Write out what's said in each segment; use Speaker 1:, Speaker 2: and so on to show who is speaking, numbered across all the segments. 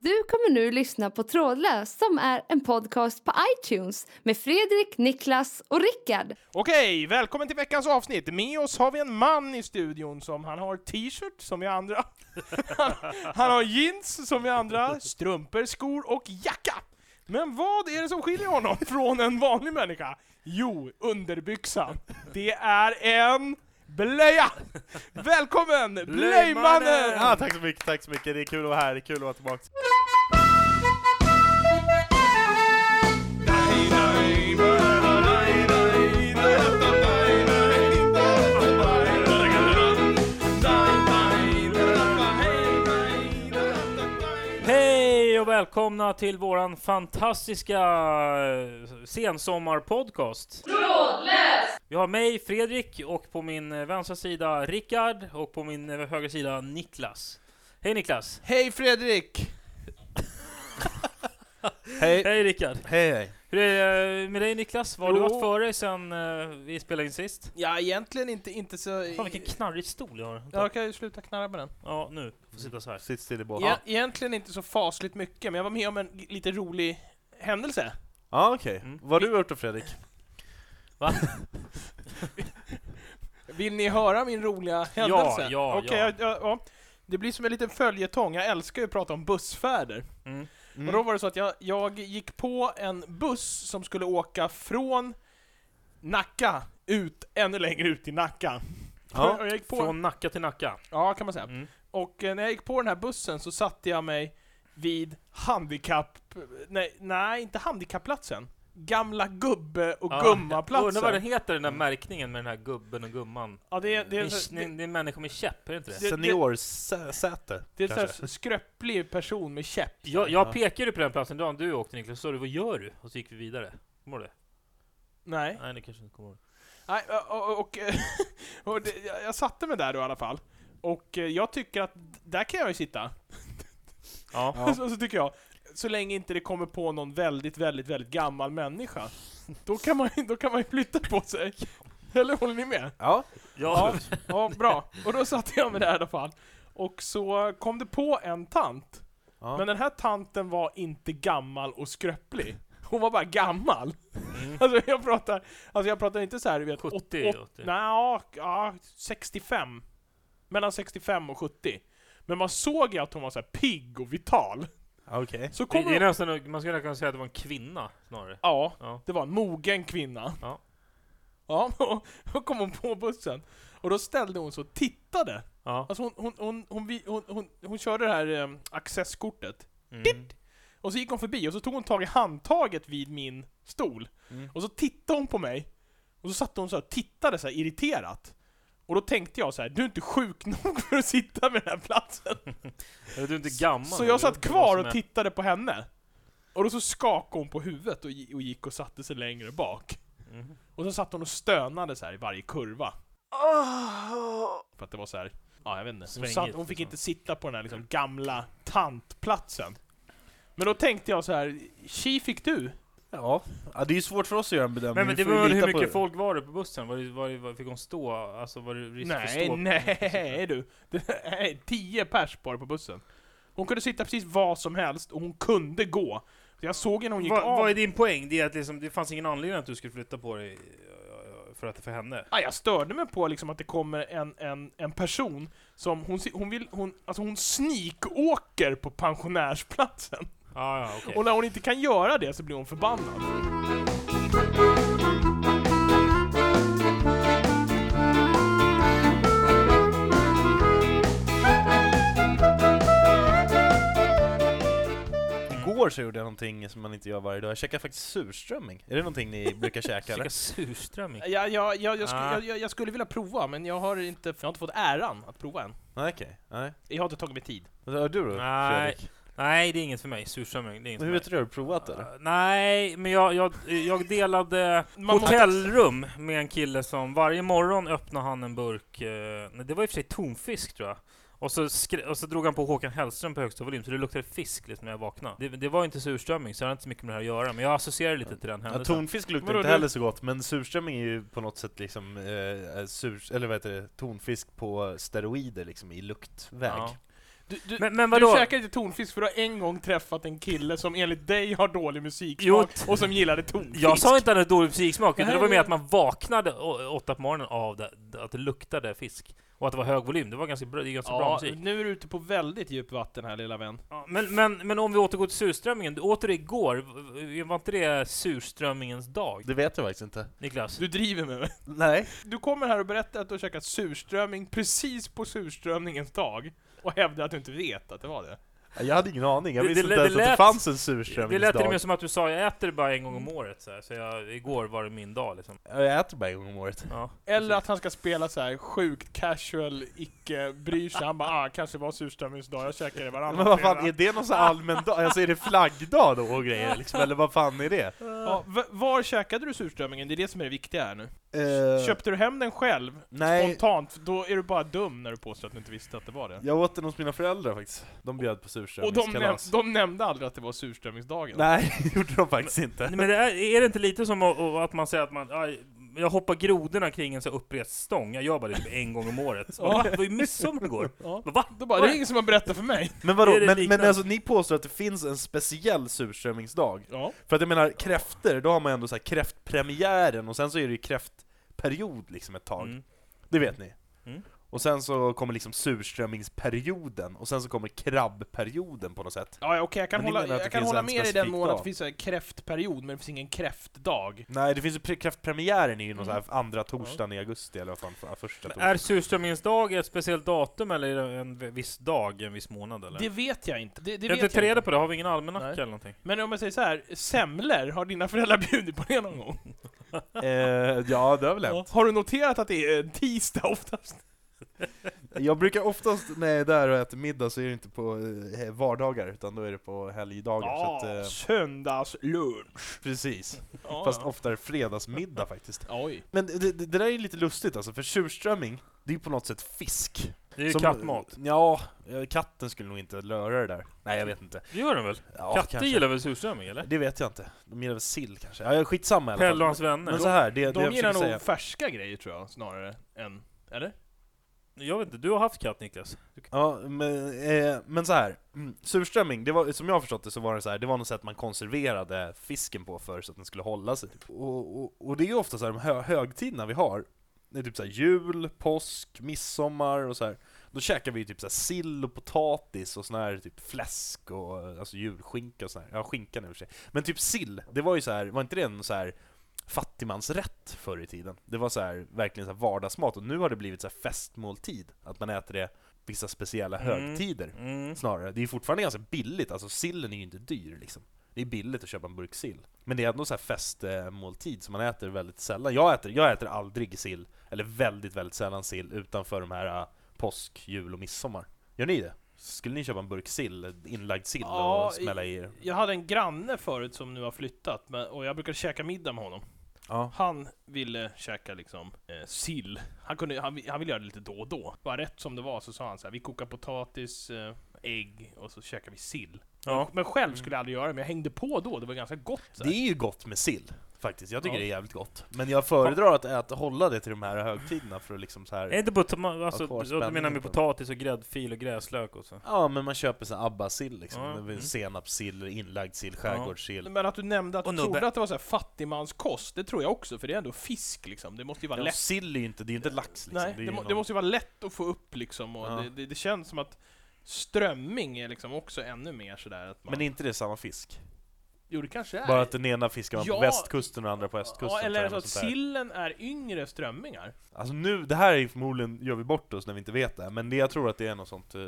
Speaker 1: Du kommer nu lyssna på Trådlös som är en podcast på iTunes med Fredrik, Niklas och Rickard.
Speaker 2: Okej, välkommen till veckans avsnitt! Med oss har vi en man i studion som han har t-shirt som vi andra. Han, han har jeans som vi andra, strumpor, skor och jacka! Men vad är det som skiljer honom från en vanlig människa? Jo, underbyxan. Det är en blöja! Välkommen,
Speaker 3: Ja,
Speaker 2: Blöjmannen!
Speaker 3: Ah, tack så mycket, tack så mycket. Det är kul att vara här, det är kul att vara tillbaka.
Speaker 4: Hej och välkomna till våran fantastiska eh, sensommarpodcast. Trådlös! Vi har mig, Fredrik, och på min eh, vänstra sida Rickard och på min eh, högra sida Niklas. Hej Niklas!
Speaker 2: Hej Fredrik! Hej!
Speaker 4: Hej Rickard!
Speaker 3: Hej hej.
Speaker 4: Hur är det med dig Niklas? Vad har du
Speaker 2: Jo.
Speaker 4: haft för dig sen eh, vi spelade in sist?
Speaker 2: Ja, egentligen inte, inte så...
Speaker 4: Fan vilken knarrig stol jag har.
Speaker 2: Jag kan ju sluta knarra med den.
Speaker 4: Ja, nu. Får sitta så här.
Speaker 3: Sitt still i båten.
Speaker 2: Ja,
Speaker 3: Ja,
Speaker 2: egentligen inte så fasligt mycket, men jag var med om en g- lite rolig händelse.
Speaker 3: okej.
Speaker 4: Mm.
Speaker 3: Vad har du gjort då Fredrik?
Speaker 2: Vill ni höra min roliga händelse?
Speaker 4: ja,
Speaker 2: Okej,
Speaker 4: ja.
Speaker 2: jag- jag- ja. Det blir som en liten följetong, jag älskar ju att prata om bussfärder.
Speaker 4: Mm.
Speaker 2: Och då var det så att jag, jag gick på en buss som skulle åka från Nacka ut, ännu längre ut i Nacka.
Speaker 3: Ja.
Speaker 2: Och jag gick på,
Speaker 4: Från Nacka till Nacka.
Speaker 2: Ja, kan man säga.
Speaker 4: Mm.
Speaker 2: Och eh, när jag gick på den här bussen så satte jag mig vid handikapp... Nej, nej inte handikappplatsen. Gamla gubbe och
Speaker 4: Ja. Undrar
Speaker 2: gummaplatsen.
Speaker 4: vad den heter den där
Speaker 3: Mm.
Speaker 4: märkningen med den här gubben och gumman.
Speaker 2: Ja, det är, det är, alltså- en
Speaker 4: Det
Speaker 2: sån-
Speaker 4: är en människa med käpp, är det inte det?
Speaker 2: det-
Speaker 3: Seniorsäte,
Speaker 2: det är en sån
Speaker 3: kanske?
Speaker 2: här skröplig person med käpp.
Speaker 4: Jag,
Speaker 3: Ja.
Speaker 4: jag pekade på den platsen dagen du åkte Niklas, så sa du vad gör du? Och så gick vi vidare. Kommer du det?
Speaker 2: Nej.
Speaker 4: Nej, ni kanske inte kommer ihåg.
Speaker 2: nej och, och, och, och det, jag jag satte mig där då i alla fall. Och eh, jag tycker att där kan jag ju sitta.
Speaker 4: Ja.
Speaker 2: Och så, så tycker jag, så länge inte det kommer på någon väldigt, väldigt, väldigt gammal människa. Då kan man, då kan man ju flytta på sig. Eller håller ni med?
Speaker 3: Ja.
Speaker 4: Ja.
Speaker 2: Ja, bra. Och då satte jag mig där i alla fall. Och så kom det på en tant.
Speaker 3: Ja.
Speaker 2: Men den här tanten var inte gammal och skröplig. Hon var bara gammal.
Speaker 4: Mm.
Speaker 2: Alltså jag pratar, alltså jag pratar inte så här, du vet,
Speaker 4: 70,
Speaker 2: 80.
Speaker 4: 80.
Speaker 2: Nej, ja, 65. Mellan 65 och 70. Men man såg ju att hon var så här pigg och vital.
Speaker 3: Okej.
Speaker 2: Så
Speaker 4: Det,
Speaker 2: kom
Speaker 4: det är
Speaker 2: hon,
Speaker 4: nästan, man skulle kunna säga att det var en kvinna snarare.
Speaker 2: ja,
Speaker 4: Ja.
Speaker 2: det var en mogen kvinna.
Speaker 4: Ja.
Speaker 2: Ja, och då kom hon på bussen. Och då ställde hon sig och tittade
Speaker 4: Ja.
Speaker 2: Alltså hon, hon, hon, hon, vi- hon, hon, hon körde det här eh, accesskortet,
Speaker 4: Mm.
Speaker 2: och så gick hon förbi och så tog hon tag i handtaget vid min stol.
Speaker 3: Mm.
Speaker 2: Och så tittade hon på mig, och så satt hon så här och tittade så här irriterat. Och då tänkte jag så här: du är inte sjuk nog för att sitta med den här platsen.
Speaker 4: Eller Du är inte gammal.
Speaker 2: Så
Speaker 4: eller?
Speaker 2: jag satt
Speaker 4: Det var
Speaker 2: kvar
Speaker 4: som en-
Speaker 2: och tittade på henne. Och då så skakade hon på huvudet och, gi- och gick och satte sig längre bak.
Speaker 4: Mhm.
Speaker 2: Och så satt hon och stönade så här i varje kurva. För att det var så här. Ja, jag vet inte. Hon,
Speaker 4: Svängigt,
Speaker 2: satt, hon fick
Speaker 4: liksom.
Speaker 2: inte sitta på den här liksom gamla tantplatsen. Men då tänkte jag så här, tji fick du?
Speaker 3: Ja. ja. Det är ju svårt för oss att göra en bedömning.
Speaker 4: Men, men
Speaker 3: Vi
Speaker 4: det
Speaker 3: får ju
Speaker 4: var
Speaker 3: lita
Speaker 4: hur
Speaker 3: på
Speaker 4: mycket
Speaker 3: det.
Speaker 4: folk var det på bussen? Var det, var det, var, fick hon stå? Alltså var det risk för
Speaker 2: Nej,
Speaker 4: stå? Alltså,
Speaker 2: nej du. Det är tio pers var det på bussen. Hon kunde sitta precis vad som helst och hon kunde gå. Så Jag såg henne hon gick
Speaker 4: Vad
Speaker 2: av.
Speaker 4: vad är din poäng? Det är att liksom, det fanns ingen anledning att du skulle flytta på dig eh, för att det för henne?
Speaker 2: Ja, jag störde mig på liksom att det kommer en, en, en person som hon, si- hon vill, hon, alltså hon sneakåker på pensionärsplatsen.
Speaker 4: Ah, ja, okej.
Speaker 2: Och när hon inte kan göra det så blir hon förbannad.
Speaker 3: Igår så gjorde jag någonting som man inte gör varje dag. Jag käkade faktiskt surströmming. Är det någonting ni brukar käka eller?
Speaker 4: Käka surströmming?
Speaker 2: Ja, ja, ja, jag, skulle,
Speaker 4: Ah.
Speaker 2: jag, jag, jag skulle vilja prova, men jag har, inte, jag har inte fått äran att prova än.
Speaker 3: Nej okej. Nej.
Speaker 2: Jag har inte tagit mig tid.
Speaker 3: Vad har du då
Speaker 4: Nej.
Speaker 3: Fredrik?
Speaker 4: Nej, det är inget för mig. Surströmming, det är inget
Speaker 3: Men
Speaker 4: för mig.
Speaker 3: hur vet du det? Har du provat det? eller?
Speaker 4: Uh, nej, men jag, jag, jag delade
Speaker 2: Man
Speaker 4: hotellrum med en kille som varje morgon öppnade han en burk, eh, nej, det var i och för sig tonfisk tror jag. Och så, skrä- och så drog han på Håkan Hellström på högsta volym, så det luktade fisk liksom när jag vaknade. Det, det var inte surströmming, så jag hade inte så mycket med det här att göra, men jag associerar lite till den
Speaker 3: Ja,
Speaker 4: händelsen.
Speaker 3: tonfisk luktar
Speaker 2: Vadå,
Speaker 3: inte
Speaker 2: du-
Speaker 3: heller så gott, men surströmming är ju på något sätt liksom eh, sur, eller vad heter det, tonfisk på steroider liksom i luktväg.
Speaker 4: Ja.
Speaker 2: Du, du,
Speaker 4: Men- men
Speaker 2: du
Speaker 4: vadå?
Speaker 2: käkar inte tonfisk för du har en gång träffat en kille som enligt dig har dålig
Speaker 4: Jo,
Speaker 2: musiksmak
Speaker 4: t-
Speaker 2: och som gillade tonfisk.
Speaker 4: Jag sa inte att det hade dålig musiksmak,
Speaker 2: Det
Speaker 4: utan
Speaker 2: här
Speaker 4: det var
Speaker 2: är-
Speaker 4: mer att man vaknade å- åtta på morgonen av det, att det luktade fisk. Och att det var hög volym, det var ganska bra, det är ganska bra
Speaker 2: Ja,
Speaker 4: musik.
Speaker 2: nu är du ute på väldigt djupt vatten här lilla vän.
Speaker 4: Ja, men, men, men om vi återgår till surströmmingen, du åt det igår, v- var inte det surströmmingens dag?
Speaker 3: Det vet jag faktiskt inte.
Speaker 4: Niklas?
Speaker 2: Du driver med mig.
Speaker 3: Nej.
Speaker 2: Du kommer här och berättar att du har käkat surströmming precis på surströmmingens dag och hävdar att du inte vet att det var det.
Speaker 3: Jag hade ingen aning. Jag
Speaker 4: Det-
Speaker 3: visste
Speaker 4: det-
Speaker 3: inte
Speaker 4: det
Speaker 3: ens att det
Speaker 4: lät-
Speaker 3: fanns
Speaker 4: Det
Speaker 3: en
Speaker 4: lät till och
Speaker 3: surströmmingsdag.
Speaker 4: med som att du sa jag äter det bara en gång om året, så, här, så jag, igår var det min dag liksom.
Speaker 3: Jag äter bara en gång om året.
Speaker 4: Ja,
Speaker 2: Eller att han ska spela så här sjukt casual, icke bryr sig. Han bara ah, kanske var surströmmings dag, jag käkar det varannan
Speaker 3: Men vad fan, är
Speaker 2: fredag."
Speaker 3: det någon sån här allmän dag? Alltså är det flaggdag då och grejer liksom? Eller vad fan är det?
Speaker 2: ja, v- Var käkade du surströmmingen? Det är det som är det viktiga här nu.
Speaker 4: Eh.
Speaker 2: Köpte du hem den själv?
Speaker 3: Eh, Nej,
Speaker 2: Spontant? Då är du bara dum när du påstår att du inte visste att det var det.
Speaker 3: jag åt den hos mina föräldrar faktiskt. De bjöd på
Speaker 2: Och de, näm
Speaker 3: surströmmingskalas.
Speaker 2: de nämnde aldrig att det var surströmmingsdagen.
Speaker 3: Nej, det gjorde de faktiskt
Speaker 4: Nej,
Speaker 3: inte.
Speaker 4: Men det är, är det inte lite som att, att man säger att man, aj, jag hoppar grodorna kring en så här upprest stång, jag gör bara det typ en gång om året. Så,
Speaker 2: Ja.
Speaker 4: va? Det var ju midsommar igår!
Speaker 2: Ja.
Speaker 4: Va?
Speaker 2: Då bara, det är ingen som har berättat för mig.
Speaker 3: Men vadå,
Speaker 4: Är det
Speaker 3: men, men
Speaker 4: liknande?
Speaker 3: alltså ni påstår att det finns en speciell surströmmingsdag?
Speaker 2: Ja.
Speaker 3: För att jag menar, kräfter, då har man ändå så här kräftpremiären och sen så är det ju kräftperiod liksom ett tag.
Speaker 4: Mm.
Speaker 3: Det vet ni.
Speaker 4: Mm.
Speaker 3: Och sen så kommer liksom surströmmingsperioden, och sen så kommer krabbperioden på något sätt.
Speaker 2: Ja, ja, okej, jag kan
Speaker 3: Men ni
Speaker 2: hålla,
Speaker 3: menar att
Speaker 2: jag
Speaker 3: det
Speaker 2: kan
Speaker 3: finns
Speaker 2: hålla
Speaker 3: en
Speaker 2: med i den
Speaker 3: specifik
Speaker 2: mån att det
Speaker 3: dag?
Speaker 2: finns en kräftperiod, men det finns ingen kräftdag.
Speaker 3: Nej, det finns ju pre- kräftpremiären är ju någon så här andra torsdagen i augusti eller vad fan, för- första
Speaker 4: Mm. Men
Speaker 3: torsdagen.
Speaker 4: Är surströmmingens dag ett speciellt datum eller är det en v- viss dag, en viss månad eller?
Speaker 2: Det vet jag inte. Det, det
Speaker 4: jag
Speaker 2: vet
Speaker 4: har inte
Speaker 2: jag
Speaker 4: tagit reda
Speaker 2: inte.
Speaker 4: på det, har vi ingen almanacka
Speaker 2: Nej.
Speaker 4: eller någonting?
Speaker 2: Men om jag säger så här, semlor, har dina föräldrar bjudit på det någon gång?
Speaker 3: Eh, ja, det har väl hänt.
Speaker 2: Har du noterat att det är en tisdag oftast?
Speaker 3: Jag brukar oftast, när jag är där och äter middag, så är det inte på eh, vardagar, utan då är det på helgdagar. Så att, eh,
Speaker 2: söndagslunch.
Speaker 3: precis.
Speaker 2: Ja,
Speaker 3: Fast
Speaker 2: ja.
Speaker 3: oftare fredagsmiddag faktiskt.
Speaker 2: Oj.
Speaker 3: Men det, det, det där är ju lite lustigt alltså, för surströmming, det är ju på något sätt fisk.
Speaker 4: Det är ju
Speaker 3: Som-
Speaker 4: kattmat.
Speaker 3: Ja, eh, katten skulle nog inte röra det där. Nej, jag vet inte.
Speaker 4: Det gör den väl?
Speaker 3: Ja,
Speaker 4: Katter
Speaker 3: kanske.
Speaker 4: gillar väl surströmming eller?
Speaker 3: Det vet jag inte. De gillar väl sill kanske. Ja, skitsamma i alla
Speaker 4: Pelle och
Speaker 3: fall.
Speaker 4: hans vänner.
Speaker 3: Men så här, det, det
Speaker 2: De
Speaker 3: jag
Speaker 2: gillar
Speaker 3: försöker
Speaker 2: nog
Speaker 3: säga.
Speaker 2: färska grejer tror jag, snarare än... Eller?
Speaker 4: Jag vet inte, du har haft katt Niklas?
Speaker 3: Ja, men, eh, men så här. Mm. Surströmming, det var, som jag har förstått det så var det så här, det var något sätt man konserverade fisken på för så att den skulle hålla sig. Typ. Och, och, och det är ju ofta så här, de hö, högtiderna vi har, det är typ så här jul, påsk, midsommar och så här. Då käkar vi ju typ så här sill och potatis och sån här typ fläsk och eh, alltså julskinka och sån här. Ja, skinkan i och för sig. Men typ sill, det var ju så här, var inte det en så här fattigmansrätt förr i tiden? Det var så här, verkligen så här vardagsmat och nu har det blivit så här festmåltid, att man äter det vissa speciella
Speaker 4: Mm.
Speaker 3: högtider
Speaker 4: Mm.
Speaker 3: snarare. Det är ju fortfarande ganska billigt, alltså sillen är ju inte dyr liksom. Det är billigt att köpa en burk sill. Men det är ändå så här festmåltid som man äter väldigt sällan. Jag äter, jag äter aldrig sill, eller väldigt, väldigt sällan sill utanför de här äh, påsk, jul och midsommar. Gör ni det? Skulle ni köpa en burk sill, inlagd sill
Speaker 2: Ja,
Speaker 3: och smälla i er?
Speaker 2: Jag hade en granne förut som nu har flyttat, men, och jag brukade käka middag med honom.
Speaker 3: Ja.
Speaker 2: Han ville käka liksom eh, sill. Han, kunde, han, vi- han ville göra det lite då och då. Bara rätt som det var så sa han så här, vi kokar potatis, eh, ägg och så käkar vi sill.
Speaker 4: Ja.
Speaker 2: Men själv skulle jag aldrig göra det, men jag hängde på då, det var ganska gott. Så
Speaker 3: Det
Speaker 2: här.
Speaker 3: är ju gott med sill, faktiskt. Jag tycker
Speaker 2: Ja.
Speaker 3: det är jävligt gott. Men jag föredrar att äta, hålla det till de här högtiderna för att liksom så
Speaker 4: Är
Speaker 3: här.
Speaker 4: inte potama- alltså,
Speaker 3: kvar
Speaker 4: du du menar
Speaker 3: spänningen
Speaker 4: med
Speaker 3: på
Speaker 4: potatis och gräddfil och gräslök och så?
Speaker 3: Ja, men man köper så här abba-sill liksom.
Speaker 4: Ja,
Speaker 3: Det är väl
Speaker 4: mm.
Speaker 3: Senapssill, inlagd sill, skärgårdssill.
Speaker 2: Men att du nämnde att
Speaker 4: Och
Speaker 2: du
Speaker 4: nubbe.
Speaker 2: trodde att det var så här fattigmanskost, det tror jag också, för det är ändå fisk liksom. Det måste ju vara
Speaker 3: Ja,
Speaker 2: lätt.
Speaker 3: sill är ju inte, det är ju inte lax liksom.
Speaker 2: Nej,
Speaker 3: är
Speaker 2: det,
Speaker 3: ju
Speaker 2: må, det
Speaker 3: någon-
Speaker 2: måste ju vara lätt att få upp liksom, och
Speaker 3: Ja.
Speaker 2: det, det, det känns som att strömming är liksom också ännu mer sådär att man...
Speaker 3: Men är inte det samma fisk?
Speaker 2: jo, det kanske är.
Speaker 3: Bara att den ena fiskar man
Speaker 2: Ja.
Speaker 3: på västkusten och den andra på östkusten.
Speaker 2: ja, eller är det så
Speaker 3: tror jag,
Speaker 2: att
Speaker 3: något sånt där.
Speaker 2: sillen är yngre strömmingar?
Speaker 3: Alltså nu, det här är ju förmodligen, gör vi bort oss när vi inte vet det, här, men det, jag tror att det är något sånt... eh,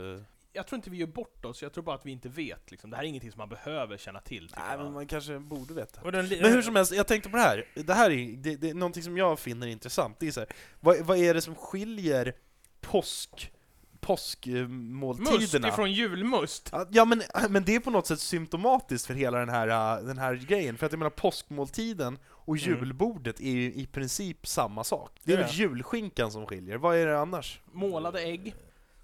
Speaker 2: Jag tror inte vi gör bort oss, jag tror bara att vi inte vet liksom. Det här är ingenting som man behöver känna till. tycker
Speaker 3: nej
Speaker 2: jag.
Speaker 3: men man kanske borde veta.
Speaker 4: Och den li-
Speaker 3: Men hur som helst, jag tänkte på det här. Det här är det, det är någonting som jag finner intressant. Det är så här, vad, vad är det som skiljer påsk,
Speaker 2: Must
Speaker 3: påskmåltiderna?
Speaker 2: ifrån julmust!
Speaker 3: Ja, Ja men, men det är på något sätt symptomatiskt för hela den här, äh, den här grejen, för att jag menar påskmåltiden och
Speaker 4: Mm.
Speaker 3: julbordet är ju i princip samma sak. Det är
Speaker 2: Det är
Speaker 3: väl julskinkan som skiljer, vad är det annars?
Speaker 2: Målade ägg.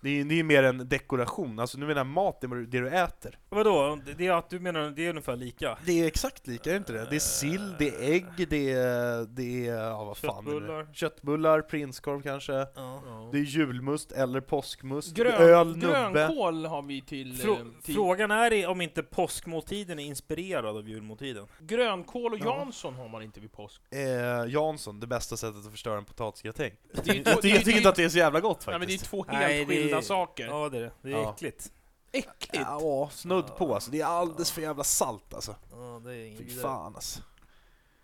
Speaker 3: Det är det är ju mer en dekoration, alltså nu menar jag mat, det du- det du äter.
Speaker 4: Vadå? Det är att du menar det är ungefär lika?
Speaker 3: Det är exakt lika, är det inte det? Det är sill, det är ägg, det är... Det är ja, vad fan är det?
Speaker 4: Köttbullar.
Speaker 3: Köttbullar, prinskorv kanske.
Speaker 4: Ja.
Speaker 3: Det är julmust eller påskmust,
Speaker 2: Grön,
Speaker 3: öl, nubbe.
Speaker 2: grönkål har vi till... eh,
Speaker 4: Frå-
Speaker 2: till
Speaker 4: Frågan är i- om inte påskmåltiden är inspirerad av julmåltiden.
Speaker 2: grönkål och
Speaker 3: Ja.
Speaker 2: Jansson har man inte vid påsk.
Speaker 3: Eh, Jansson, det bästa sättet att förstöra en potatisgratäng.
Speaker 2: Det är ju
Speaker 3: Jag,
Speaker 2: två-
Speaker 3: jag
Speaker 2: det är ju-
Speaker 3: tycker inte att det är så jävla gott
Speaker 2: Nej, men det är
Speaker 3: faktiskt.
Speaker 2: två helt
Speaker 4: Nej, det är-
Speaker 2: skilda saker.
Speaker 4: Ja, det är det. Det är
Speaker 3: Ja.
Speaker 4: äckligt.
Speaker 2: Äckligt!
Speaker 3: Ja, snudd på alltså. Det är alldeles för jävla salt alltså.
Speaker 4: Ja, det är
Speaker 3: Fy fan alltså.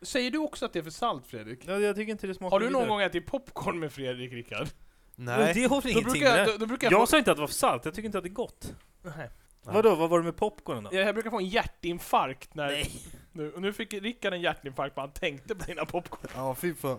Speaker 2: Säger du också att det är för salt, Fredrik?
Speaker 4: Ja, jag tycker inte det smakar
Speaker 2: Har du någon
Speaker 4: vidare.
Speaker 2: gång ätit popcorn med Fredrik, Rickard?
Speaker 4: Nej.
Speaker 3: Nej.
Speaker 4: Det har väl
Speaker 2: Då
Speaker 4: ingenting
Speaker 2: brukar,
Speaker 4: med
Speaker 2: jag,
Speaker 4: det.
Speaker 2: då, då brukar jag,
Speaker 4: Jag
Speaker 2: få,
Speaker 4: sa inte att det var för salt, jag tycker inte att det är gott.
Speaker 2: nej,
Speaker 3: Nej.
Speaker 4: Vadå, vad var det med popcornen då?
Speaker 2: jag, jag brukar få en hjärtinfarkt när...
Speaker 4: Nej.
Speaker 2: Nu, och nu fick Rickard en hjärtinfarkt när han tänkte på dina popcorn.
Speaker 3: Ja, fy fan.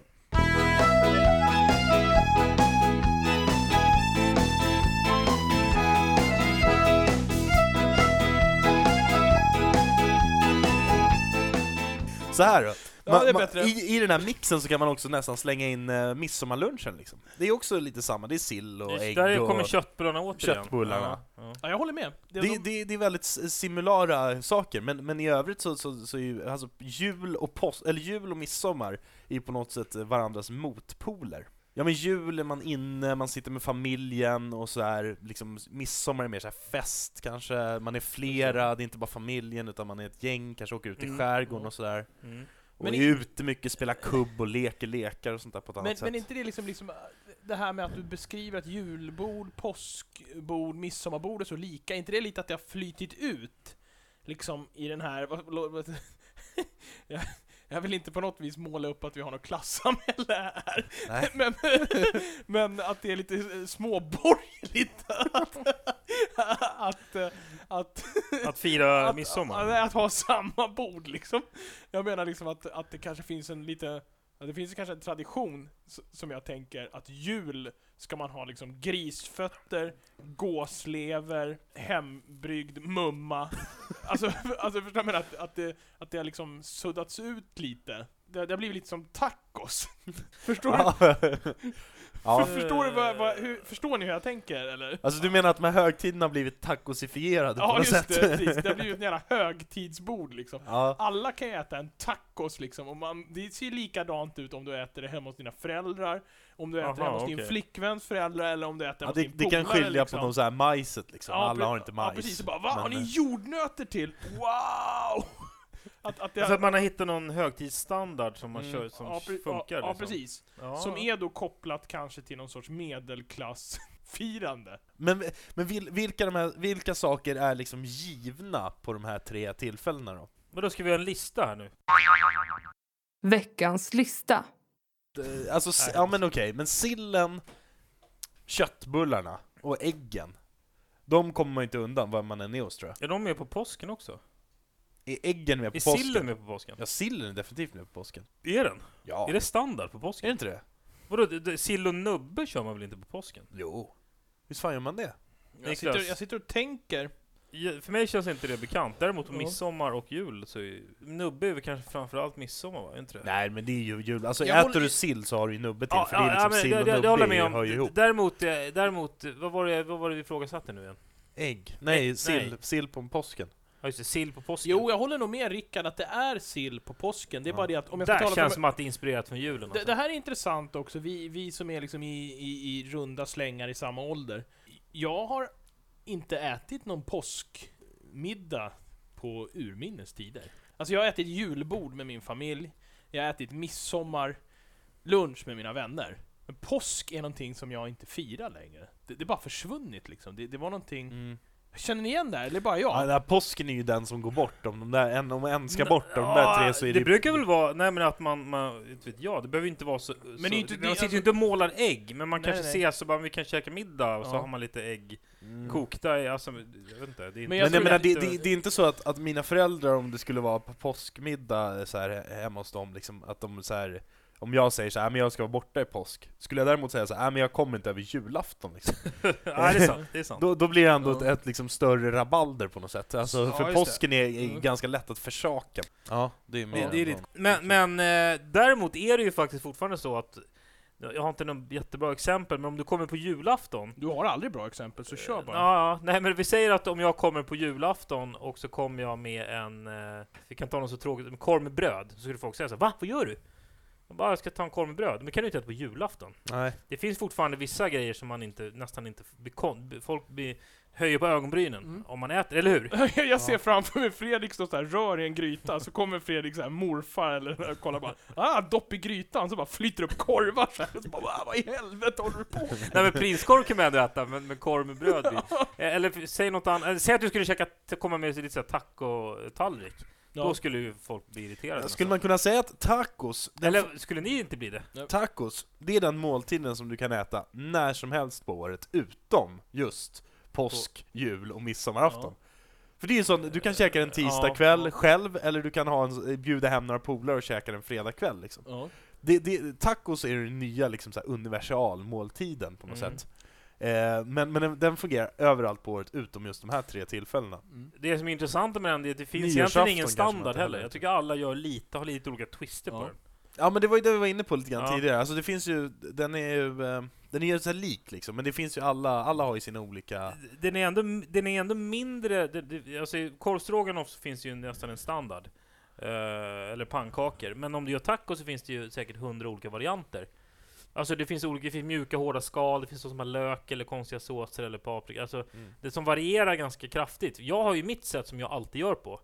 Speaker 3: Så här då.
Speaker 2: Ja,
Speaker 3: Man-
Speaker 2: det är
Speaker 3: man-
Speaker 2: bättre.
Speaker 3: i, I den här mixen så kan man också nästan slänga in eh, midsommarlunchen liksom. Det är också lite samma, det är sill och ägg
Speaker 4: Där
Speaker 3: och...
Speaker 4: kommer köttbullarna återigen.
Speaker 3: Köttbullarna.
Speaker 4: Ja, ja.
Speaker 2: Ja, jag håller med. Det,
Speaker 3: Det,
Speaker 2: de,
Speaker 3: det, det är väldigt s- similara saker, men, men i övrigt så, så, så är ju alltså, jul, och post, eller jul och midsommar är ju på något sätt varandras motpoler. Ja men jul är man inne, man sitter med familjen och så här, liksom midsommar är mer så här fest kanske, man är flera, det är inte bara familjen utan man är ett gäng, kanske åker ut i
Speaker 4: Mm.
Speaker 3: skärgården och sådär.
Speaker 4: Mm.
Speaker 3: Och
Speaker 2: Men
Speaker 3: är
Speaker 2: i-
Speaker 3: ute mycket, spelar kubb och leker lekar och sånt där på ett
Speaker 2: men,
Speaker 3: annat
Speaker 2: men
Speaker 3: sätt.
Speaker 2: inte det liksom, liksom äh, det här med att du beskriver att julbord, påskbord, midsommarbord är så lika, är inte det lite att det har flytit ut? Liksom i den här... vad- lo- vad- jag, jag vill inte på något vis måla upp att vi har något klassamhälle här.
Speaker 3: Nej.
Speaker 2: Men, men att det är lite eh, småborgerligt att, att, eh, att
Speaker 4: Att fira
Speaker 2: att,
Speaker 4: midsommar.
Speaker 2: Att, att ha samma bord liksom. Jag menar liksom att, att det kanske finns en lite, att det finns kanske en tradition s- som jag tänker att jul ska man ha liksom grisfötter, gåslever, hembryggd mumma. alltså, alltså förstår du vad jag menar? Att, att, det, att det har liksom suddats ut lite. Det, det har blivit lite som tacos. förstår, du?
Speaker 3: ja.
Speaker 2: För, förstår, du vad, vad, hur, förstår ni hur jag tänker eller?
Speaker 3: Alltså du menar att de här högtiderna har blivit tacosifierade på
Speaker 2: Ja
Speaker 3: något
Speaker 2: just
Speaker 3: sätt?
Speaker 2: det, precis. Det har blivit ett jävla högtidsbord liksom.
Speaker 3: Ja.
Speaker 2: Alla kan ju äta en tacos liksom, och man, det ser ju likadant ut om du äter det hemma hos dina föräldrar, om du äter
Speaker 4: Aha,
Speaker 2: det hemma hos din
Speaker 4: okej.
Speaker 2: flickväns föräldrar, eller om du äter
Speaker 3: Ja,
Speaker 2: hos
Speaker 3: det,
Speaker 2: din
Speaker 3: det kan
Speaker 2: polare,
Speaker 3: skilja
Speaker 2: liksom.
Speaker 3: på någon så här majset liksom,
Speaker 2: Ja,
Speaker 3: alla
Speaker 2: pre-
Speaker 3: har inte majs.
Speaker 2: Ja, precis. Och bara, Va? Har
Speaker 3: Men,
Speaker 2: ni jordnötter till? Wow! Att, att det,
Speaker 4: Så Alltså att man har hittat någon högtidsstandard som man
Speaker 3: Mm.
Speaker 4: kör, som
Speaker 2: ja, pre-
Speaker 4: funkar.
Speaker 2: ja, ja,
Speaker 4: liksom.
Speaker 2: precis.
Speaker 4: Ja.
Speaker 2: Som är då kopplat kanske till någon sorts medelklassfirande.
Speaker 3: men, men vil, vilka, de här, vilka saker är liksom givna på de här tre tillfällena då?
Speaker 4: Men då ska vi göra en lista här nu.
Speaker 1: Veckans lista.
Speaker 3: Eh, Alltså, s-
Speaker 4: Nej.
Speaker 3: ja men okej, men sillen, köttbullarna och äggen, de kommer man ju inte undan vad man än är hos tror jag.
Speaker 4: Är de med på påsken också?
Speaker 3: Är äggen med på
Speaker 4: Är
Speaker 3: påsken?
Speaker 4: sillen med på påsken?
Speaker 3: Ja, sillen är definitivt med på påsken.
Speaker 4: Är den?
Speaker 3: Ja.
Speaker 4: Är det standard på påsken?
Speaker 3: Är det inte det?
Speaker 4: Vadå, d- d- sill och nubbe kör man väl inte på påsken?
Speaker 3: Jo. Hur fan gör man det?
Speaker 2: Jag
Speaker 4: Niklas.
Speaker 2: sitter, jag sitter och tänker,
Speaker 4: Ja, För mig känns inte det bekant. Däremot
Speaker 2: Ja.
Speaker 4: midsommar och jul så är nubbe är väl kanske framförallt midsommar va? Är inte det?
Speaker 3: Nej men det är ju jul, alltså
Speaker 2: Jag
Speaker 3: äter
Speaker 2: håller-
Speaker 3: du sill så har du ju nubbe till,
Speaker 4: Ja,
Speaker 3: för det är
Speaker 4: ja, ja,
Speaker 3: liksom
Speaker 4: men
Speaker 3: sill och
Speaker 4: det- det-
Speaker 3: nubbe
Speaker 4: det håller jag med
Speaker 3: hör ju
Speaker 4: om.
Speaker 3: ihop.
Speaker 4: Däremot, eh, däremot, eh, vad var det, vad var det vi ifrågasatte nu igen?
Speaker 3: Ägg? Nej,
Speaker 4: Nej.
Speaker 3: sill, sill på påsken.
Speaker 4: Ja just det, sill på påsken.
Speaker 2: jo jag håller nog med Rickard att det är sill på påsken, det är
Speaker 3: Ja.
Speaker 2: bara det att om jag ska
Speaker 4: Där
Speaker 2: tala
Speaker 4: känns
Speaker 2: för
Speaker 4: som att det är inspirerat från julen.
Speaker 2: Det,
Speaker 4: Alltså.
Speaker 2: det här är intressant också, vi, vi som är liksom i, i, i runda slängar i samma ålder. Jag har inte ätit någon påskmiddag på urminnes tider. Alltså jag har ätit julbord med min familj, jag har ätit midsommar, lunch med mina vänner. Men påsk är någonting som jag inte firar längre. Det, det är bara försvunnit liksom. Det, det var någonting...
Speaker 3: Mm.
Speaker 2: Känner ni igen det här? Eller bara
Speaker 3: Ja.
Speaker 2: jag?
Speaker 3: den här påsken är ju den som går bort, om, de där, en, om en ska
Speaker 4: Nå,
Speaker 3: bort av de där
Speaker 4: ja,
Speaker 3: tre så är
Speaker 4: det...
Speaker 3: det,
Speaker 4: brukar väl vara, nej men att man, man inte vet jag, det behöver ju inte vara så... så
Speaker 2: det är ju inte-
Speaker 4: man
Speaker 2: det-
Speaker 4: sitter ju
Speaker 2: alltså-
Speaker 4: inte och målar ägg, men man
Speaker 2: Nej,
Speaker 4: kanske
Speaker 2: nej.
Speaker 4: ses och bara, vi kan käka middag, och så
Speaker 2: Ja.
Speaker 4: har man lite ägg
Speaker 3: Mm.
Speaker 4: kokta i, alltså, jag vet inte. Det är
Speaker 2: Men jag
Speaker 4: inte,
Speaker 3: Men
Speaker 2: tror
Speaker 3: jag menar, det,
Speaker 4: lite-
Speaker 3: det, det är inte så att, att mina föräldrar, om det skulle vara på påskmiddag eh, så här, he- hemma hos dem, liksom, att de så här, om jag säger så här, "Äh, men jag ska vara borta i påsk, skulle jag däremot säga så här, "Äh, men jag kommer inte över julafton liksom.
Speaker 4: Nej, det är sant, det är sant.
Speaker 3: Då, då blir det ändå
Speaker 4: Ja.
Speaker 3: ett, ett liksom större rabalder på något sätt, alltså,
Speaker 4: Ja,
Speaker 3: för
Speaker 4: just det.
Speaker 3: påsken är, är
Speaker 4: Mm.
Speaker 3: ganska lätt att försaka. Ja, det är
Speaker 4: Men, men eh, däremot är det ju faktiskt fortfarande så att Jag har inte något jättebra exempel, men om du kommer på julafton.
Speaker 2: Du har aldrig bra exempel, så
Speaker 3: Eh,
Speaker 2: kör
Speaker 4: Ja,
Speaker 2: bara.
Speaker 4: ja, nej men vi säger att om jag kommer på julafton och så kommer jag med en, eh, vi kan ta något så tråkigt, en korv med bröd. Så skulle folk säga så här, va? Vad gör du? Jag bara, jag ska ta en korv med bröd. Men det kan du inte äta på julafton.
Speaker 3: Nej.
Speaker 4: Det finns fortfarande vissa grejer som man inte, nästan inte, blir kon- blir- folk blir, höjer på ögonbrynen
Speaker 2: Mm.
Speaker 4: om man äter, eller hur?
Speaker 2: Jag ser framför mig Fredrik stå så här, rör i en gryta, så kommer Fredrik så här, morfar eller och kollar bara ah, dopp i grytan, så bara flyter upp korvar så här, och så bara ah, vad i helvete håller du på med?"
Speaker 4: Nej men prinskorv kan man ändå äta, men, men korv med bröd blir- Eh, Eller f- säg något annat, eller säg att du skulle käka, t- komma med lite såhär tacotallrik. Då
Speaker 2: ja.
Speaker 4: skulle ju folk bli irriterade. Alltså.
Speaker 3: Skulle man kunna säga att tacos, den
Speaker 4: Eller skulle ni inte bli det?
Speaker 3: Tacos, det är den måltiden som du kan äta när som helst på året, utom just påsk, jul och midsommarafton. För det är ju sån, du kan käka den tisdag
Speaker 4: Eh, Ja,
Speaker 3: kväll
Speaker 4: ja.
Speaker 3: själv, eller du kan ha en, bjuda hem några polare och käka den fredag kväll liksom.
Speaker 2: Ja.
Speaker 3: det, det, Tacos är den nya liksom, så här, universalmåltiden på något
Speaker 4: Mm.
Speaker 3: sätt. Eh, men men den, den fungerar överallt på året, utom just de här tre tillfällena.
Speaker 2: Mm.
Speaker 4: Det som är intressant med den är att det finns egentligen
Speaker 3: Nyårsafton
Speaker 4: ingen
Speaker 3: kanske man inte
Speaker 4: standard heller.
Speaker 3: heller.
Speaker 4: Jag tycker alla gör lite, har lite olika twister på
Speaker 2: Ja.
Speaker 4: den.
Speaker 3: Ja men det var ju det vi var inne på lite grann
Speaker 4: Ja.
Speaker 3: tidigare, alltså det finns ju, den är ju, eh, den är ju så här lik liksom, men det finns ju alla, alla har ju sina olika
Speaker 4: Den är ändå, den är ändå mindre, det, det, alltså i korvstroganoff så finns det ju nästan en standard. Eh, eller pannkakor. Men om du gör tacos så finns det ju säkert hundra olika varianter. Alltså det finns olika, det finns mjuka hårda skal, det finns sådana som har lök eller konstiga såser eller paprika. Alltså det som varierar ganska kraftigt. Jag har ju mitt sätt som jag alltid gör på.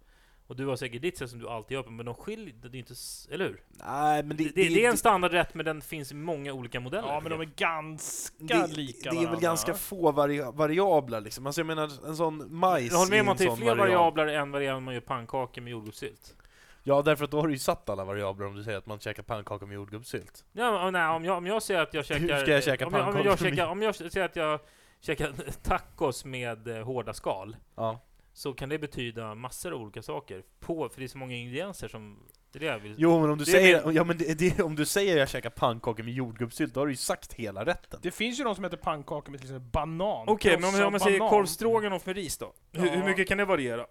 Speaker 4: Och du har säkert ditt sätt som du alltid gör på, men de skiljer, det är ju inte, s- eller hur?
Speaker 3: Nej, men
Speaker 4: Det, det, det är en standardrätt, men den finns i många olika modeller.
Speaker 2: ja, men de är ganska
Speaker 3: det,
Speaker 2: lika
Speaker 3: det är väl
Speaker 2: varandra.
Speaker 3: ganska få vari- variabler liksom. Alltså jag menar, en sån majs
Speaker 4: jag håller med
Speaker 3: är
Speaker 4: om att det
Speaker 3: en
Speaker 4: är
Speaker 3: sån
Speaker 4: fler
Speaker 3: variab-
Speaker 4: variabler än vad det är om man gör pannkakor med jordgubbssylt.
Speaker 3: Ja, därför att då har du ju satt alla variabler om du säger att man käkar pannkaka med jordgubbssylt.
Speaker 4: Ja, men, nej, om, jag, om jag säger att jag käkar...
Speaker 3: ska jag käka
Speaker 4: om, jag, om,
Speaker 3: pannkakor
Speaker 4: jag
Speaker 3: med-
Speaker 4: käkar, om jag säger att jag käkar tacos med eh, hårda skal,
Speaker 3: Ja.
Speaker 4: så kan det betyda massor av olika saker. På, för det är så många ingredienser som... Det är det jag vill...
Speaker 3: Jo, men om du
Speaker 4: Det är
Speaker 3: säger, ja, men det, det, om du säger jag käkar pannkaka med jordgubbssylt, då har du ju sagt hela rätten.
Speaker 2: Det finns ju de som äter pannkakor med till exempel banan.
Speaker 4: Okej, men om,
Speaker 2: krossad
Speaker 4: om man säger
Speaker 2: banan.
Speaker 4: korv stroganoff med ris då? Hur,
Speaker 2: Ja.
Speaker 4: hur mycket kan det variera?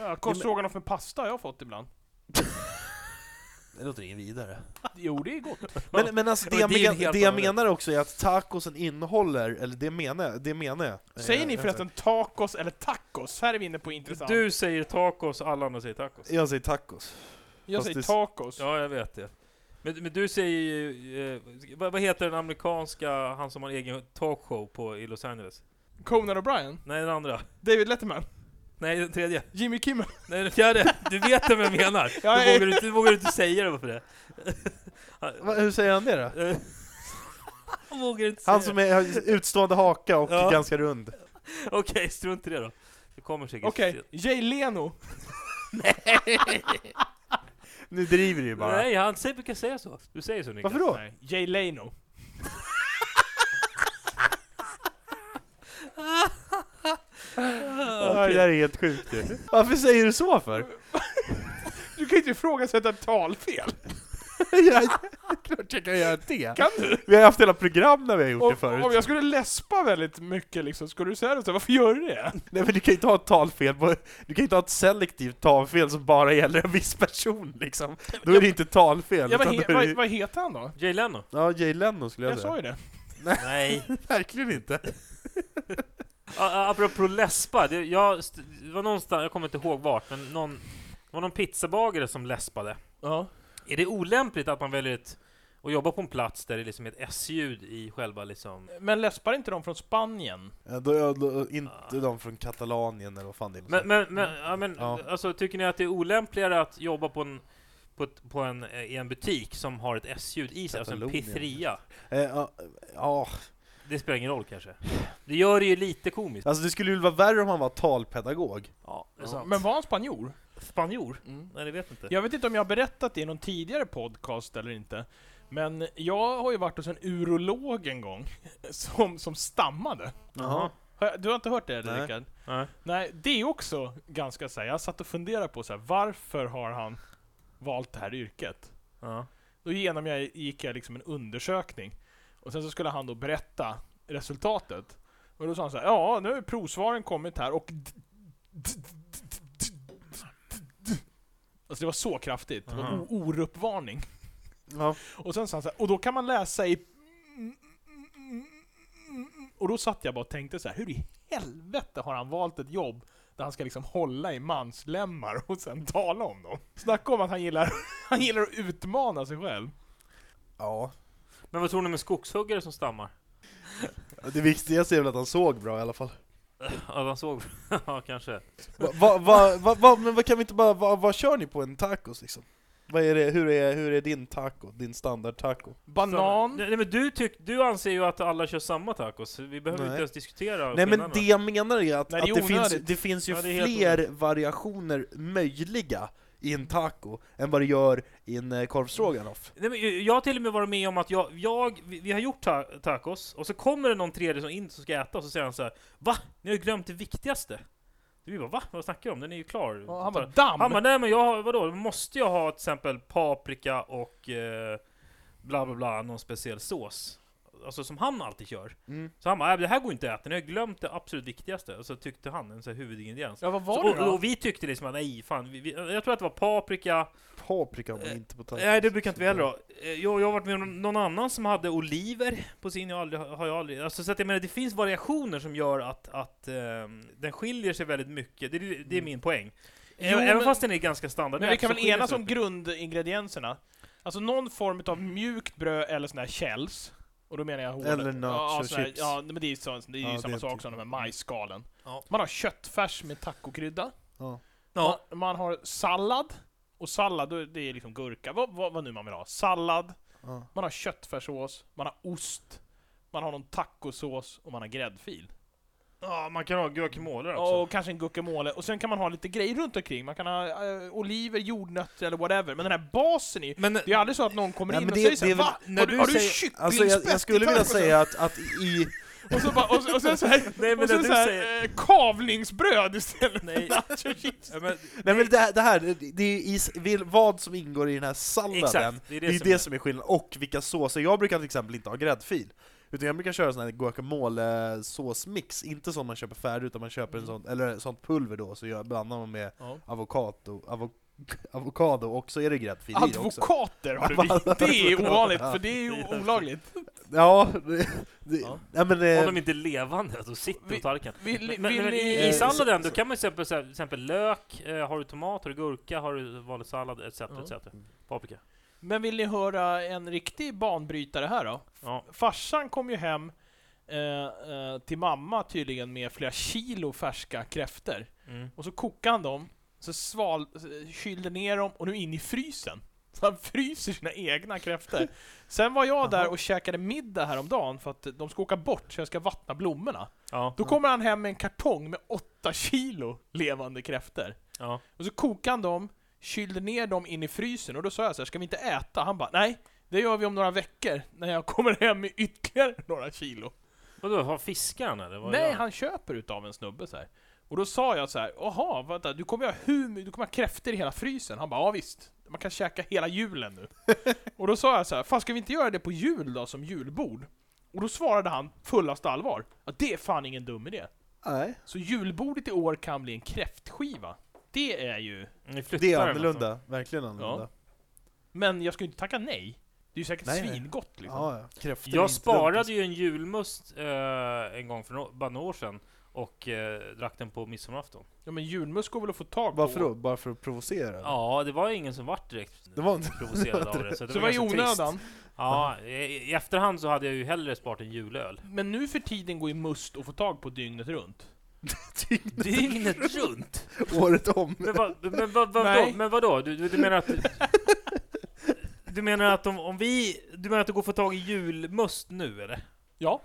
Speaker 2: Ja, korv stroganoff med pasta har jag fått ibland.
Speaker 3: Det låter inget vidare.
Speaker 2: Jo, det är gott.
Speaker 3: Men, men alltså, det,
Speaker 4: Ja, men
Speaker 3: jag,
Speaker 4: det är ju en
Speaker 3: men,
Speaker 4: helt
Speaker 3: det jag
Speaker 4: annan rätt.
Speaker 3: menar också är att tacosen innehåller, eller det menar jag, det menar jag.
Speaker 2: Säger
Speaker 3: Eh,
Speaker 2: ni
Speaker 3: jag-
Speaker 2: förresten tacos eller tacos? Här är vi inne på intressant.
Speaker 4: Du säger tacos, alla andra säger tacos.
Speaker 3: Jag säger tacos.
Speaker 2: jag
Speaker 3: fast
Speaker 2: säger
Speaker 3: det-
Speaker 2: tacos.
Speaker 4: Ja, jag vet det. Men, men du säger ju... Eh, vad, vad heter den amerikanska, han som har egen talkshow på, i Los Angeles?
Speaker 2: Conan O'Brien,
Speaker 4: Nej, den andra.
Speaker 2: David Letterman,
Speaker 4: Nej, den tredje.
Speaker 2: Jimmy Kimmel.
Speaker 4: Nej, den fjärde. Du vet vem jag menar.
Speaker 2: Ja,
Speaker 4: Du vågar inte, du vågar inte säga det, varför det?
Speaker 3: Va, hur säger han det då?
Speaker 4: Eh, Han vågar inte säga
Speaker 3: Han som är, har utstående haka och
Speaker 4: Ja.
Speaker 3: ganska rund.
Speaker 4: det. Okej, strunt i det då. Det kommer säkert.
Speaker 2: Okej, Jay Leno.
Speaker 3: Nu driver du ju bara.
Speaker 4: Nej, han säger, brukar säga så. Du säger så, Niklas.
Speaker 3: Varför då?
Speaker 2: Nej, Jay Leno.
Speaker 3: Ja, Det där är helt sjukt ju. Varför säger du så för?
Speaker 2: Du kan ju inte ifrågasätta ett talfel.
Speaker 3: Jag, klart jag kan göra det.
Speaker 2: Kan du?
Speaker 3: Vi har haft hela program när vi har gjort det
Speaker 2: Om,
Speaker 3: förut.
Speaker 2: om jag skulle läspa väldigt mycket liksom, skulle du säga det så? här, Varför gör du det?
Speaker 3: Nej men du kan ju inte ha ett talfel, på, du kan ju inte ha ett selektivt talfel som bara gäller en viss person liksom. Då är det inte talfel.
Speaker 2: Ja, vad,
Speaker 3: utan
Speaker 2: he,
Speaker 3: då är det,
Speaker 2: vad, vad heter han då?
Speaker 4: Jay Leno?
Speaker 3: ja Jay Leno skulle jag,
Speaker 2: Jag sa
Speaker 3: säga.
Speaker 2: ju det.
Speaker 4: Nej.
Speaker 3: Verkligen inte.
Speaker 4: A- a- Apropå läspa, det, jag, st- det var någonstans, jag kommer inte ihåg vart, men någon, det var någon pizzabagare som läspade.
Speaker 2: Ja.
Speaker 4: Är det olämpligt att man väljer ett, att jobba på en plats där det liksom är ett S-ljud i själva liksom...
Speaker 2: Men läspar inte de från Spanien?
Speaker 3: Ja, då, är- då, är inte de från Katalanien eller vad fan det är.
Speaker 4: Men, men, men, ja, men
Speaker 3: Ja.
Speaker 4: alltså tycker ni att det är olämpligare att jobba på en, på ett, på en, eh, i en butik som har ett S-ljud i sig, alltså en
Speaker 3: Katalonien.
Speaker 4: pizzeria?
Speaker 3: Eh, ja, ja.
Speaker 4: Det spelar ingen roll kanske. Det gör det ju lite komiskt.
Speaker 3: Alltså det skulle ju vara värre om han var talpedagog.
Speaker 4: Ja, det är sant.
Speaker 2: Men var han spanjor?
Speaker 4: Spanjor?
Speaker 2: Mm.
Speaker 4: Nej, det vet inte.
Speaker 2: Jag vet inte om jag har berättat det i någon tidigare podcast eller inte. Men jag har ju varit hos en urolog en gång, som, som stammade.
Speaker 3: Jaha.
Speaker 2: Har jag- Du har inte hört det
Speaker 3: Nej.
Speaker 2: eller Rickard?
Speaker 4: Nej.
Speaker 2: Nej, det är också ganska så här, jag satt och funderade på så här, varför har han valt det här yrket?
Speaker 4: Ja.
Speaker 2: Då genomgick jag liksom en undersökning. Och sen så skulle han då berätta resultatet. Och då sa han så här, ja nu har provsvaren kommit här och... d- d- d- d- d- d- d." Alltså det var så kraftigt, det var en
Speaker 4: Aha.
Speaker 2: o- oruppvarning.
Speaker 3: Ja.
Speaker 2: Och sen sa han så här, och då kan man läsa i Och då satt jag bara och tänkte så här, hur i helvete har han valt ett jobb där han ska liksom hålla i manslemmar och sen tala om dem? Snacka om att han gillar, han gillar att utmana sig själv.
Speaker 3: Ja.
Speaker 4: Men vad tror ni med skogshuggare som stammar?
Speaker 3: Det viktigaste är väl att han såg bra i alla fall.
Speaker 4: Ja, de såg... ja, kanske.
Speaker 3: Va, va, va, va, va, men vad kan vi inte bara, va, vad kör ni på en tacos liksom? Vad är det, hur, är, hur är din taco? Din standard taco?
Speaker 2: Banan.
Speaker 4: Nej, men du, tyck, du anser ju att alla kör samma tacos. Vi behöver
Speaker 3: Nej.
Speaker 4: inte ens diskutera
Speaker 3: Nej men
Speaker 4: skillnaderna.
Speaker 3: det jag menar är att,
Speaker 2: Nej, det
Speaker 3: det,
Speaker 2: är
Speaker 3: att det, finns,
Speaker 2: onödigt.
Speaker 3: det finns ju
Speaker 4: Ja, det är helt
Speaker 3: fler variationer möjliga i en taco än vad det gör i en eh, korv stroganoff.
Speaker 4: Nej, men jag- jag har till och med varit med om att jag, jag vi, vi har gjort ta tacos, och så kommer det någon tredje som inte ska äta, och så säger han så här Va? Ni har ju glömt det viktigaste! Så vi bara va? Vad snackar du om? Den är ju klar.
Speaker 2: Och han bara damm.
Speaker 4: han bara nej men jag har, vadå? Måste jag ha till exempel paprika och eh, bla bla bla, någon speciell sås? Alltså som han alltid kör.
Speaker 3: Mm.
Speaker 4: Så han bara, "Nej, det här går inte att äta, ni har glömt det absolut viktigaste. Och så tyckte han, en sån här huvudingrediens.
Speaker 2: Ja, vad var
Speaker 4: Så,
Speaker 2: det
Speaker 4: och,
Speaker 2: då?
Speaker 4: och vi tyckte liksom att nej fan, vi, vi, jag tror att det var paprika,
Speaker 3: Paprika men inte på tacos.
Speaker 4: Nej, det brukar inte vi heller ha. Eh, Jag, jag har varit med om någon annan som hade oliver på sin, jag har aldrig, har jag aldrig, alltså, så att jag menar, det finns variationer som gör att, att ehm, den skiljer sig väldigt mycket, det, det, det är min poäng. Ä-
Speaker 2: Mm. Jo,
Speaker 4: Även
Speaker 2: men-
Speaker 4: fast den är ganska standard.
Speaker 2: Men vi kan väl enas om
Speaker 4: grunden.
Speaker 2: grundingredienserna? Alltså någon form av mjukt bröd eller sån här källs. Och då menar jag hård.
Speaker 3: Eller nacho
Speaker 2: ja, sån här-
Speaker 3: chips.
Speaker 2: Ja, men det är, så, det är
Speaker 3: Ja,
Speaker 2: ju
Speaker 3: det
Speaker 2: samma
Speaker 3: är
Speaker 2: sak
Speaker 3: typ-
Speaker 2: som de här majsskalen.
Speaker 4: Ja.
Speaker 2: Man har köttfärs med tacokrydda.
Speaker 3: Ja.
Speaker 4: Ja,
Speaker 2: Man, man har sallad. Och sallad, då- det är liksom gurka. Vad, vad, vad nu man vill ha. Sallad.
Speaker 3: Ja.
Speaker 2: Man har köttfärssås. Man har ost. Man har någon tacosås och man har gräddfil.
Speaker 4: ja, man kan ha guacamole också.
Speaker 2: Och kanske en guacamole. Och sen kan man ha lite grejer runt omkring. Man kan ha eh, oliver, jordnötter eller whatever. Men den här basen är ju
Speaker 4: Men
Speaker 2: Det är aldrig så att någon kommer
Speaker 3: Nej,
Speaker 2: in
Speaker 3: men
Speaker 2: och
Speaker 3: det-
Speaker 2: säger såhär
Speaker 3: det är väl-
Speaker 2: Va?
Speaker 4: när
Speaker 2: Har du,
Speaker 4: du
Speaker 2: har du
Speaker 4: säger-
Speaker 2: kycklingspett
Speaker 3: Alltså jag, jag skulle
Speaker 2: i
Speaker 3: vilja
Speaker 2: tacos?"
Speaker 3: säga att, att i...
Speaker 2: Och, så bara, och, så- och sen såhär...
Speaker 4: Nej, men
Speaker 2: och sen
Speaker 4: det du
Speaker 2: såhär
Speaker 4: säger-
Speaker 2: eh, kavlingsbröd istället Alltså,
Speaker 4: Nej.
Speaker 2: för nacho chips.
Speaker 4: ja, men,
Speaker 3: Nej men det, här- det här, det- det är is, vil- vad som ingår i den här salladen,
Speaker 4: Exakt,
Speaker 3: det är det, som, är. skillnaden, och vilka såser. Jag brukar till exempel inte ha gräddfil, utan jag brukar köra sån här guacamole-såsmix, inte sån man köper färdig, utan man köper en sån, eller sånt pulver då, så jag blandar man med
Speaker 2: Ja.
Speaker 3: avokado, avo, avokado och så är det gräddfil i det också.
Speaker 2: Advokater har du blivit. Det är ovanligt, för det är ju
Speaker 4: Ja.
Speaker 2: olagligt.
Speaker 3: Ja, det, det,
Speaker 2: Ja.
Speaker 3: Nej, men,
Speaker 4: om
Speaker 3: eh,
Speaker 4: de inte är levande, då sitter de på
Speaker 2: Vi-
Speaker 4: tallriken.
Speaker 2: Vill,
Speaker 4: Men,
Speaker 2: vill
Speaker 4: men, men
Speaker 2: ni...
Speaker 4: i, i
Speaker 3: eh,
Speaker 4: salladen, då kan man ju till exempel, så här- till exempel lök, eh, har du tomat, har du gurka, har du vanlig sallad, etc.
Speaker 2: Ja.
Speaker 4: etc. Paprika.
Speaker 2: Men vill ni höra en riktig banbrytare här då?
Speaker 4: Ja.
Speaker 2: Farsan kom ju hem eh, eh, till mamma tydligen med flera kilo färska kräftor.
Speaker 4: Mm.
Speaker 2: Och så kokade han dem, så sval, eh, kylde ner dem och nu in i frysen. Så han fryser sina egna kräftor. Sen var jag där och käkade middag häromdagen för att de ska åka bort så jag ska vattna blommorna.
Speaker 4: Ja.
Speaker 2: Då kommer han hem med en kartong med 8 kilo levande kräftor.
Speaker 4: Ja.
Speaker 2: Och så kokade han dem, kylde ner dem in i frysen och då sa jag så här, ska vi inte äta? Han bara, nej, det gör vi om några veckor när jag kommer hem med ytterligare några kilo.
Speaker 4: Vadå, har fiskaren eller? Vad
Speaker 2: Nej,
Speaker 4: gör
Speaker 2: han köper utav en snubbe så här. Och då sa jag så här, jaha, vänta, du kommer ju ha hur my- du kommer ha kräftor i hela frysen? Han bara, ja visst. Man kan käka hela julen nu. och då sa jag så här, fan ska vi inte göra det på jul då, som julbord? Och då svarade han fullast allvar, ja det är fan ingen dum idé.
Speaker 3: nej,
Speaker 2: Så julbordet i år kan bli en kräftskiva. Det är ju...
Speaker 4: Ni flyttar alltså.
Speaker 3: det är
Speaker 4: den
Speaker 3: annorlunda, verkligen annorlunda.
Speaker 2: Men jag skulle inte tacka nej. Det är ju säkert
Speaker 3: Nej, nej.
Speaker 2: svingott liksom.
Speaker 3: Ja, ja. Kräftor
Speaker 4: Alltså. Jag
Speaker 3: är inte dumt.
Speaker 4: sparade ju en julmust eh, en gång för no bara några år sedan och eh, drack den på midsommarafton.
Speaker 2: Ja men julmust går väl att få tag på?
Speaker 3: Varför då? Bara för att provocera?
Speaker 4: Ja, det var ingen som vart direkt
Speaker 3: Det var inte...
Speaker 4: provocerad av det. Så det
Speaker 2: Så det var i
Speaker 4: ganska trist.
Speaker 2: onödan.
Speaker 4: Ja, i, i efterhand så hade jag ju hellre sparat en julöl.
Speaker 2: Men nu för tiden går ju must att få tag på dygnet runt.
Speaker 4: Dygnet runt!
Speaker 3: Året om.
Speaker 4: Men, vad, men, vad, vad,
Speaker 2: Nej.
Speaker 4: då, men vadå? Du, du, du menar att... Du menar att om, om vi... Du menar att det går att få tag i julmust nu eller?
Speaker 2: Ja.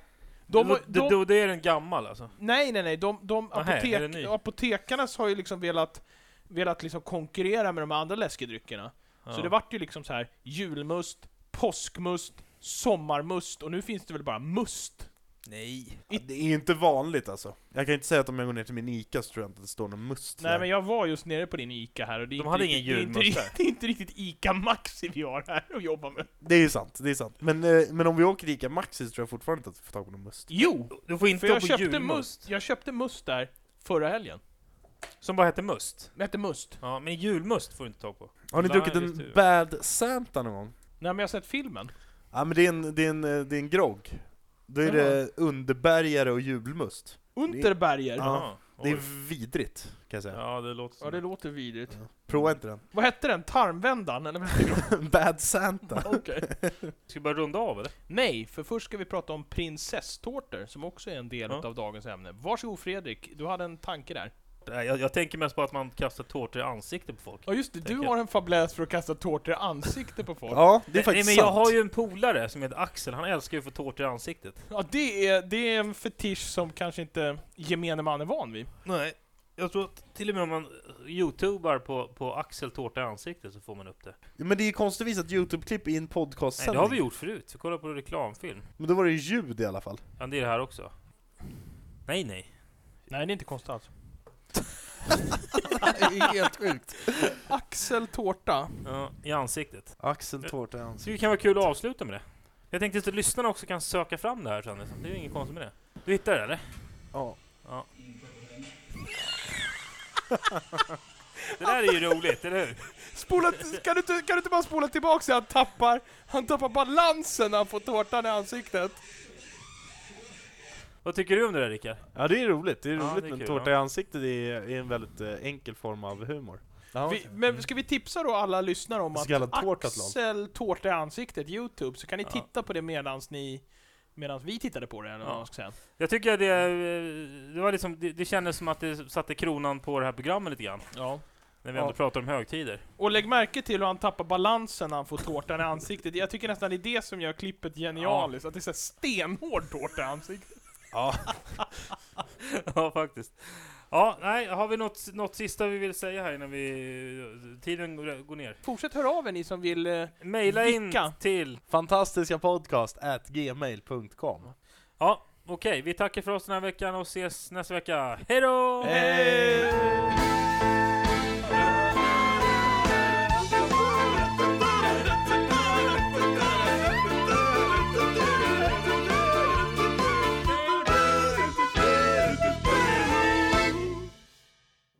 Speaker 2: De,
Speaker 4: då,
Speaker 2: de,
Speaker 4: då, då, det är den gammal alltså?
Speaker 2: nej, nej, nej. De, de
Speaker 4: Nähä, är det
Speaker 2: apotek,
Speaker 4: ny?
Speaker 2: apotekarna har ju liksom velat, velat liksom konkurrera med de andra läskedryckerna.
Speaker 4: Ja.
Speaker 2: Så det vart ju liksom så här julmust, påskmust, sommarmust och nu finns det väl bara must.
Speaker 4: Nej.
Speaker 3: Ja, Det är inte vanligt alltså. Jag kan inte säga att om jag går ner till min ICA så tror jag inte att det står någon must
Speaker 2: Nej
Speaker 3: där.
Speaker 2: men jag var just nere på din ICA här och det är,
Speaker 4: De
Speaker 2: inte,
Speaker 4: hade
Speaker 2: riktigt,
Speaker 4: ingen
Speaker 2: det, är
Speaker 4: julmust
Speaker 2: inte,
Speaker 4: där.
Speaker 2: det är inte riktigt ICA Maxi vi har här och jobbar med.
Speaker 3: Det är ju sant, det är sant. Men, eh, men om vi åker till ICA Maxi så tror jag fortfarande inte att vi får tag på någon must.
Speaker 2: Jo!
Speaker 4: Du får inte
Speaker 2: För
Speaker 4: gå
Speaker 2: jag
Speaker 4: på
Speaker 2: köpte,
Speaker 4: julmust.
Speaker 2: must, jag köpte must där förra helgen.
Speaker 4: Som bara heter must.
Speaker 2: Det hette must.
Speaker 4: Ja, men julmust får du inte tag på.
Speaker 3: Har ni
Speaker 4: Nej,
Speaker 3: druckit
Speaker 4: just det.
Speaker 3: en Bad Santa någon gång?
Speaker 2: Nej men jag har sett filmen.
Speaker 3: Ja men det är en, det är en, eh, det är en grogg. Då är det underbergare och julmust.
Speaker 2: Unterberger. Ja.
Speaker 3: Ja,
Speaker 4: Jaha,
Speaker 3: det
Speaker 4: oj.
Speaker 3: är vidrigt kan jag säga.
Speaker 4: Ja, det låter som...
Speaker 2: det låter vidrigt.
Speaker 3: Prova inte den.
Speaker 2: Vad hette den? Tarmvändan? Eller vad hette den?
Speaker 3: Bad Santa.
Speaker 2: Okej.
Speaker 4: Ska vi börja runda av eller?
Speaker 2: Nej, för först ska vi prata om prinsesstårtor, som också är en del
Speaker 4: Ja.
Speaker 2: av dagens ämne. Varsågod Fredrik, du hade en tanke där.
Speaker 4: Nej, Jag, jag tänker mest på att man kastar tårtor i ansiktet på folk.
Speaker 2: Ja just det, du
Speaker 4: Tänker.
Speaker 2: har en fäbless för att kasta tårtor i ansiktet på folk. Ja,
Speaker 3: Ja, det är
Speaker 4: Nej
Speaker 3: faktiskt
Speaker 4: men
Speaker 3: sant.
Speaker 4: jag har ju en polare som heter Axel, han älskar ju att få tårtor i ansiktet.
Speaker 2: det, är, det är en fetisch som kanske inte gemene man är van vid.
Speaker 4: Nej, jag tror att till och med om man youtubar på, på Axel tårta i ansiktet så får man upp det.
Speaker 3: Ja, Men det är ju konstigt vis att Youtube-klipp i en
Speaker 4: Nej, det
Speaker 3: podcastsändning.
Speaker 4: har vi gjort förut, vi kollar på reklamfilm.
Speaker 3: Men då var det ju ljud i alla fall.
Speaker 4: Ja, det är det här också. Nej, nej.
Speaker 2: Nej, det är inte konstigt alls.
Speaker 3: det är helt sjukt.
Speaker 2: Axel Tårta.
Speaker 4: Ja, I ansiktet.
Speaker 3: Axel Tårta i
Speaker 4: Så
Speaker 3: ansiktet.
Speaker 4: det kan vara kul att avsluta med det. Jag tänkte att lyssnarna också kan söka fram det här sen. liksom. Det är ju inget konstigt med det. Du hittar det eller?
Speaker 3: Ja.
Speaker 4: Det där är ju roligt, eller hur?
Speaker 2: Spola, kan, du, inte- kan du inte bara spola tillbaka så han tappar, han tappar balansen när han får tårtan i ansiktet?
Speaker 4: Vad tycker du om det där Rickard?
Speaker 3: ja, det är roligt. Det är
Speaker 4: Ja,
Speaker 3: roligt
Speaker 4: det är
Speaker 3: men
Speaker 4: kul,
Speaker 3: tårta
Speaker 4: ja.
Speaker 3: i ansiktet är, är en väldigt eh, enkel form av humor.
Speaker 2: Vi, men ska vi tipsa då alla lyssnare om
Speaker 3: Så
Speaker 2: att
Speaker 3: kallad tårtathlon.
Speaker 2: Axel Tårta i ansiktet, Youtube, så kan ni
Speaker 4: Ja.
Speaker 2: titta på det medans ni Medan vi tittade på det, eller vad
Speaker 4: Ja.
Speaker 2: man ska säga.
Speaker 4: Jag tycker att det, eh, det var liksom, det, det kändes som att det satte kronan på det här programmet lite grann.
Speaker 2: Ja.
Speaker 4: När vi
Speaker 2: Ja.
Speaker 4: ändå pratar om högtider.
Speaker 2: Och lägg märke till hur han tappar balansen när han får tårtan i ansiktet. Jag tycker nästan det är det som gör klippet genialiskt, att det är så här stenhård tårta i ansiktet.
Speaker 3: Ja.
Speaker 4: ja, faktiskt. Ja, nej, har vi något, något sista vi vill säga här innan vi... Tiden går, går ner.
Speaker 2: Fortsätt höra av er ni som vill... eh,
Speaker 4: Maila in
Speaker 2: Vicka.
Speaker 4: till...
Speaker 3: Fantastiska podcast at gmail.com.
Speaker 4: Ja, okej. Vi tackar för oss den här veckan och ses nästa vecka. Hej då!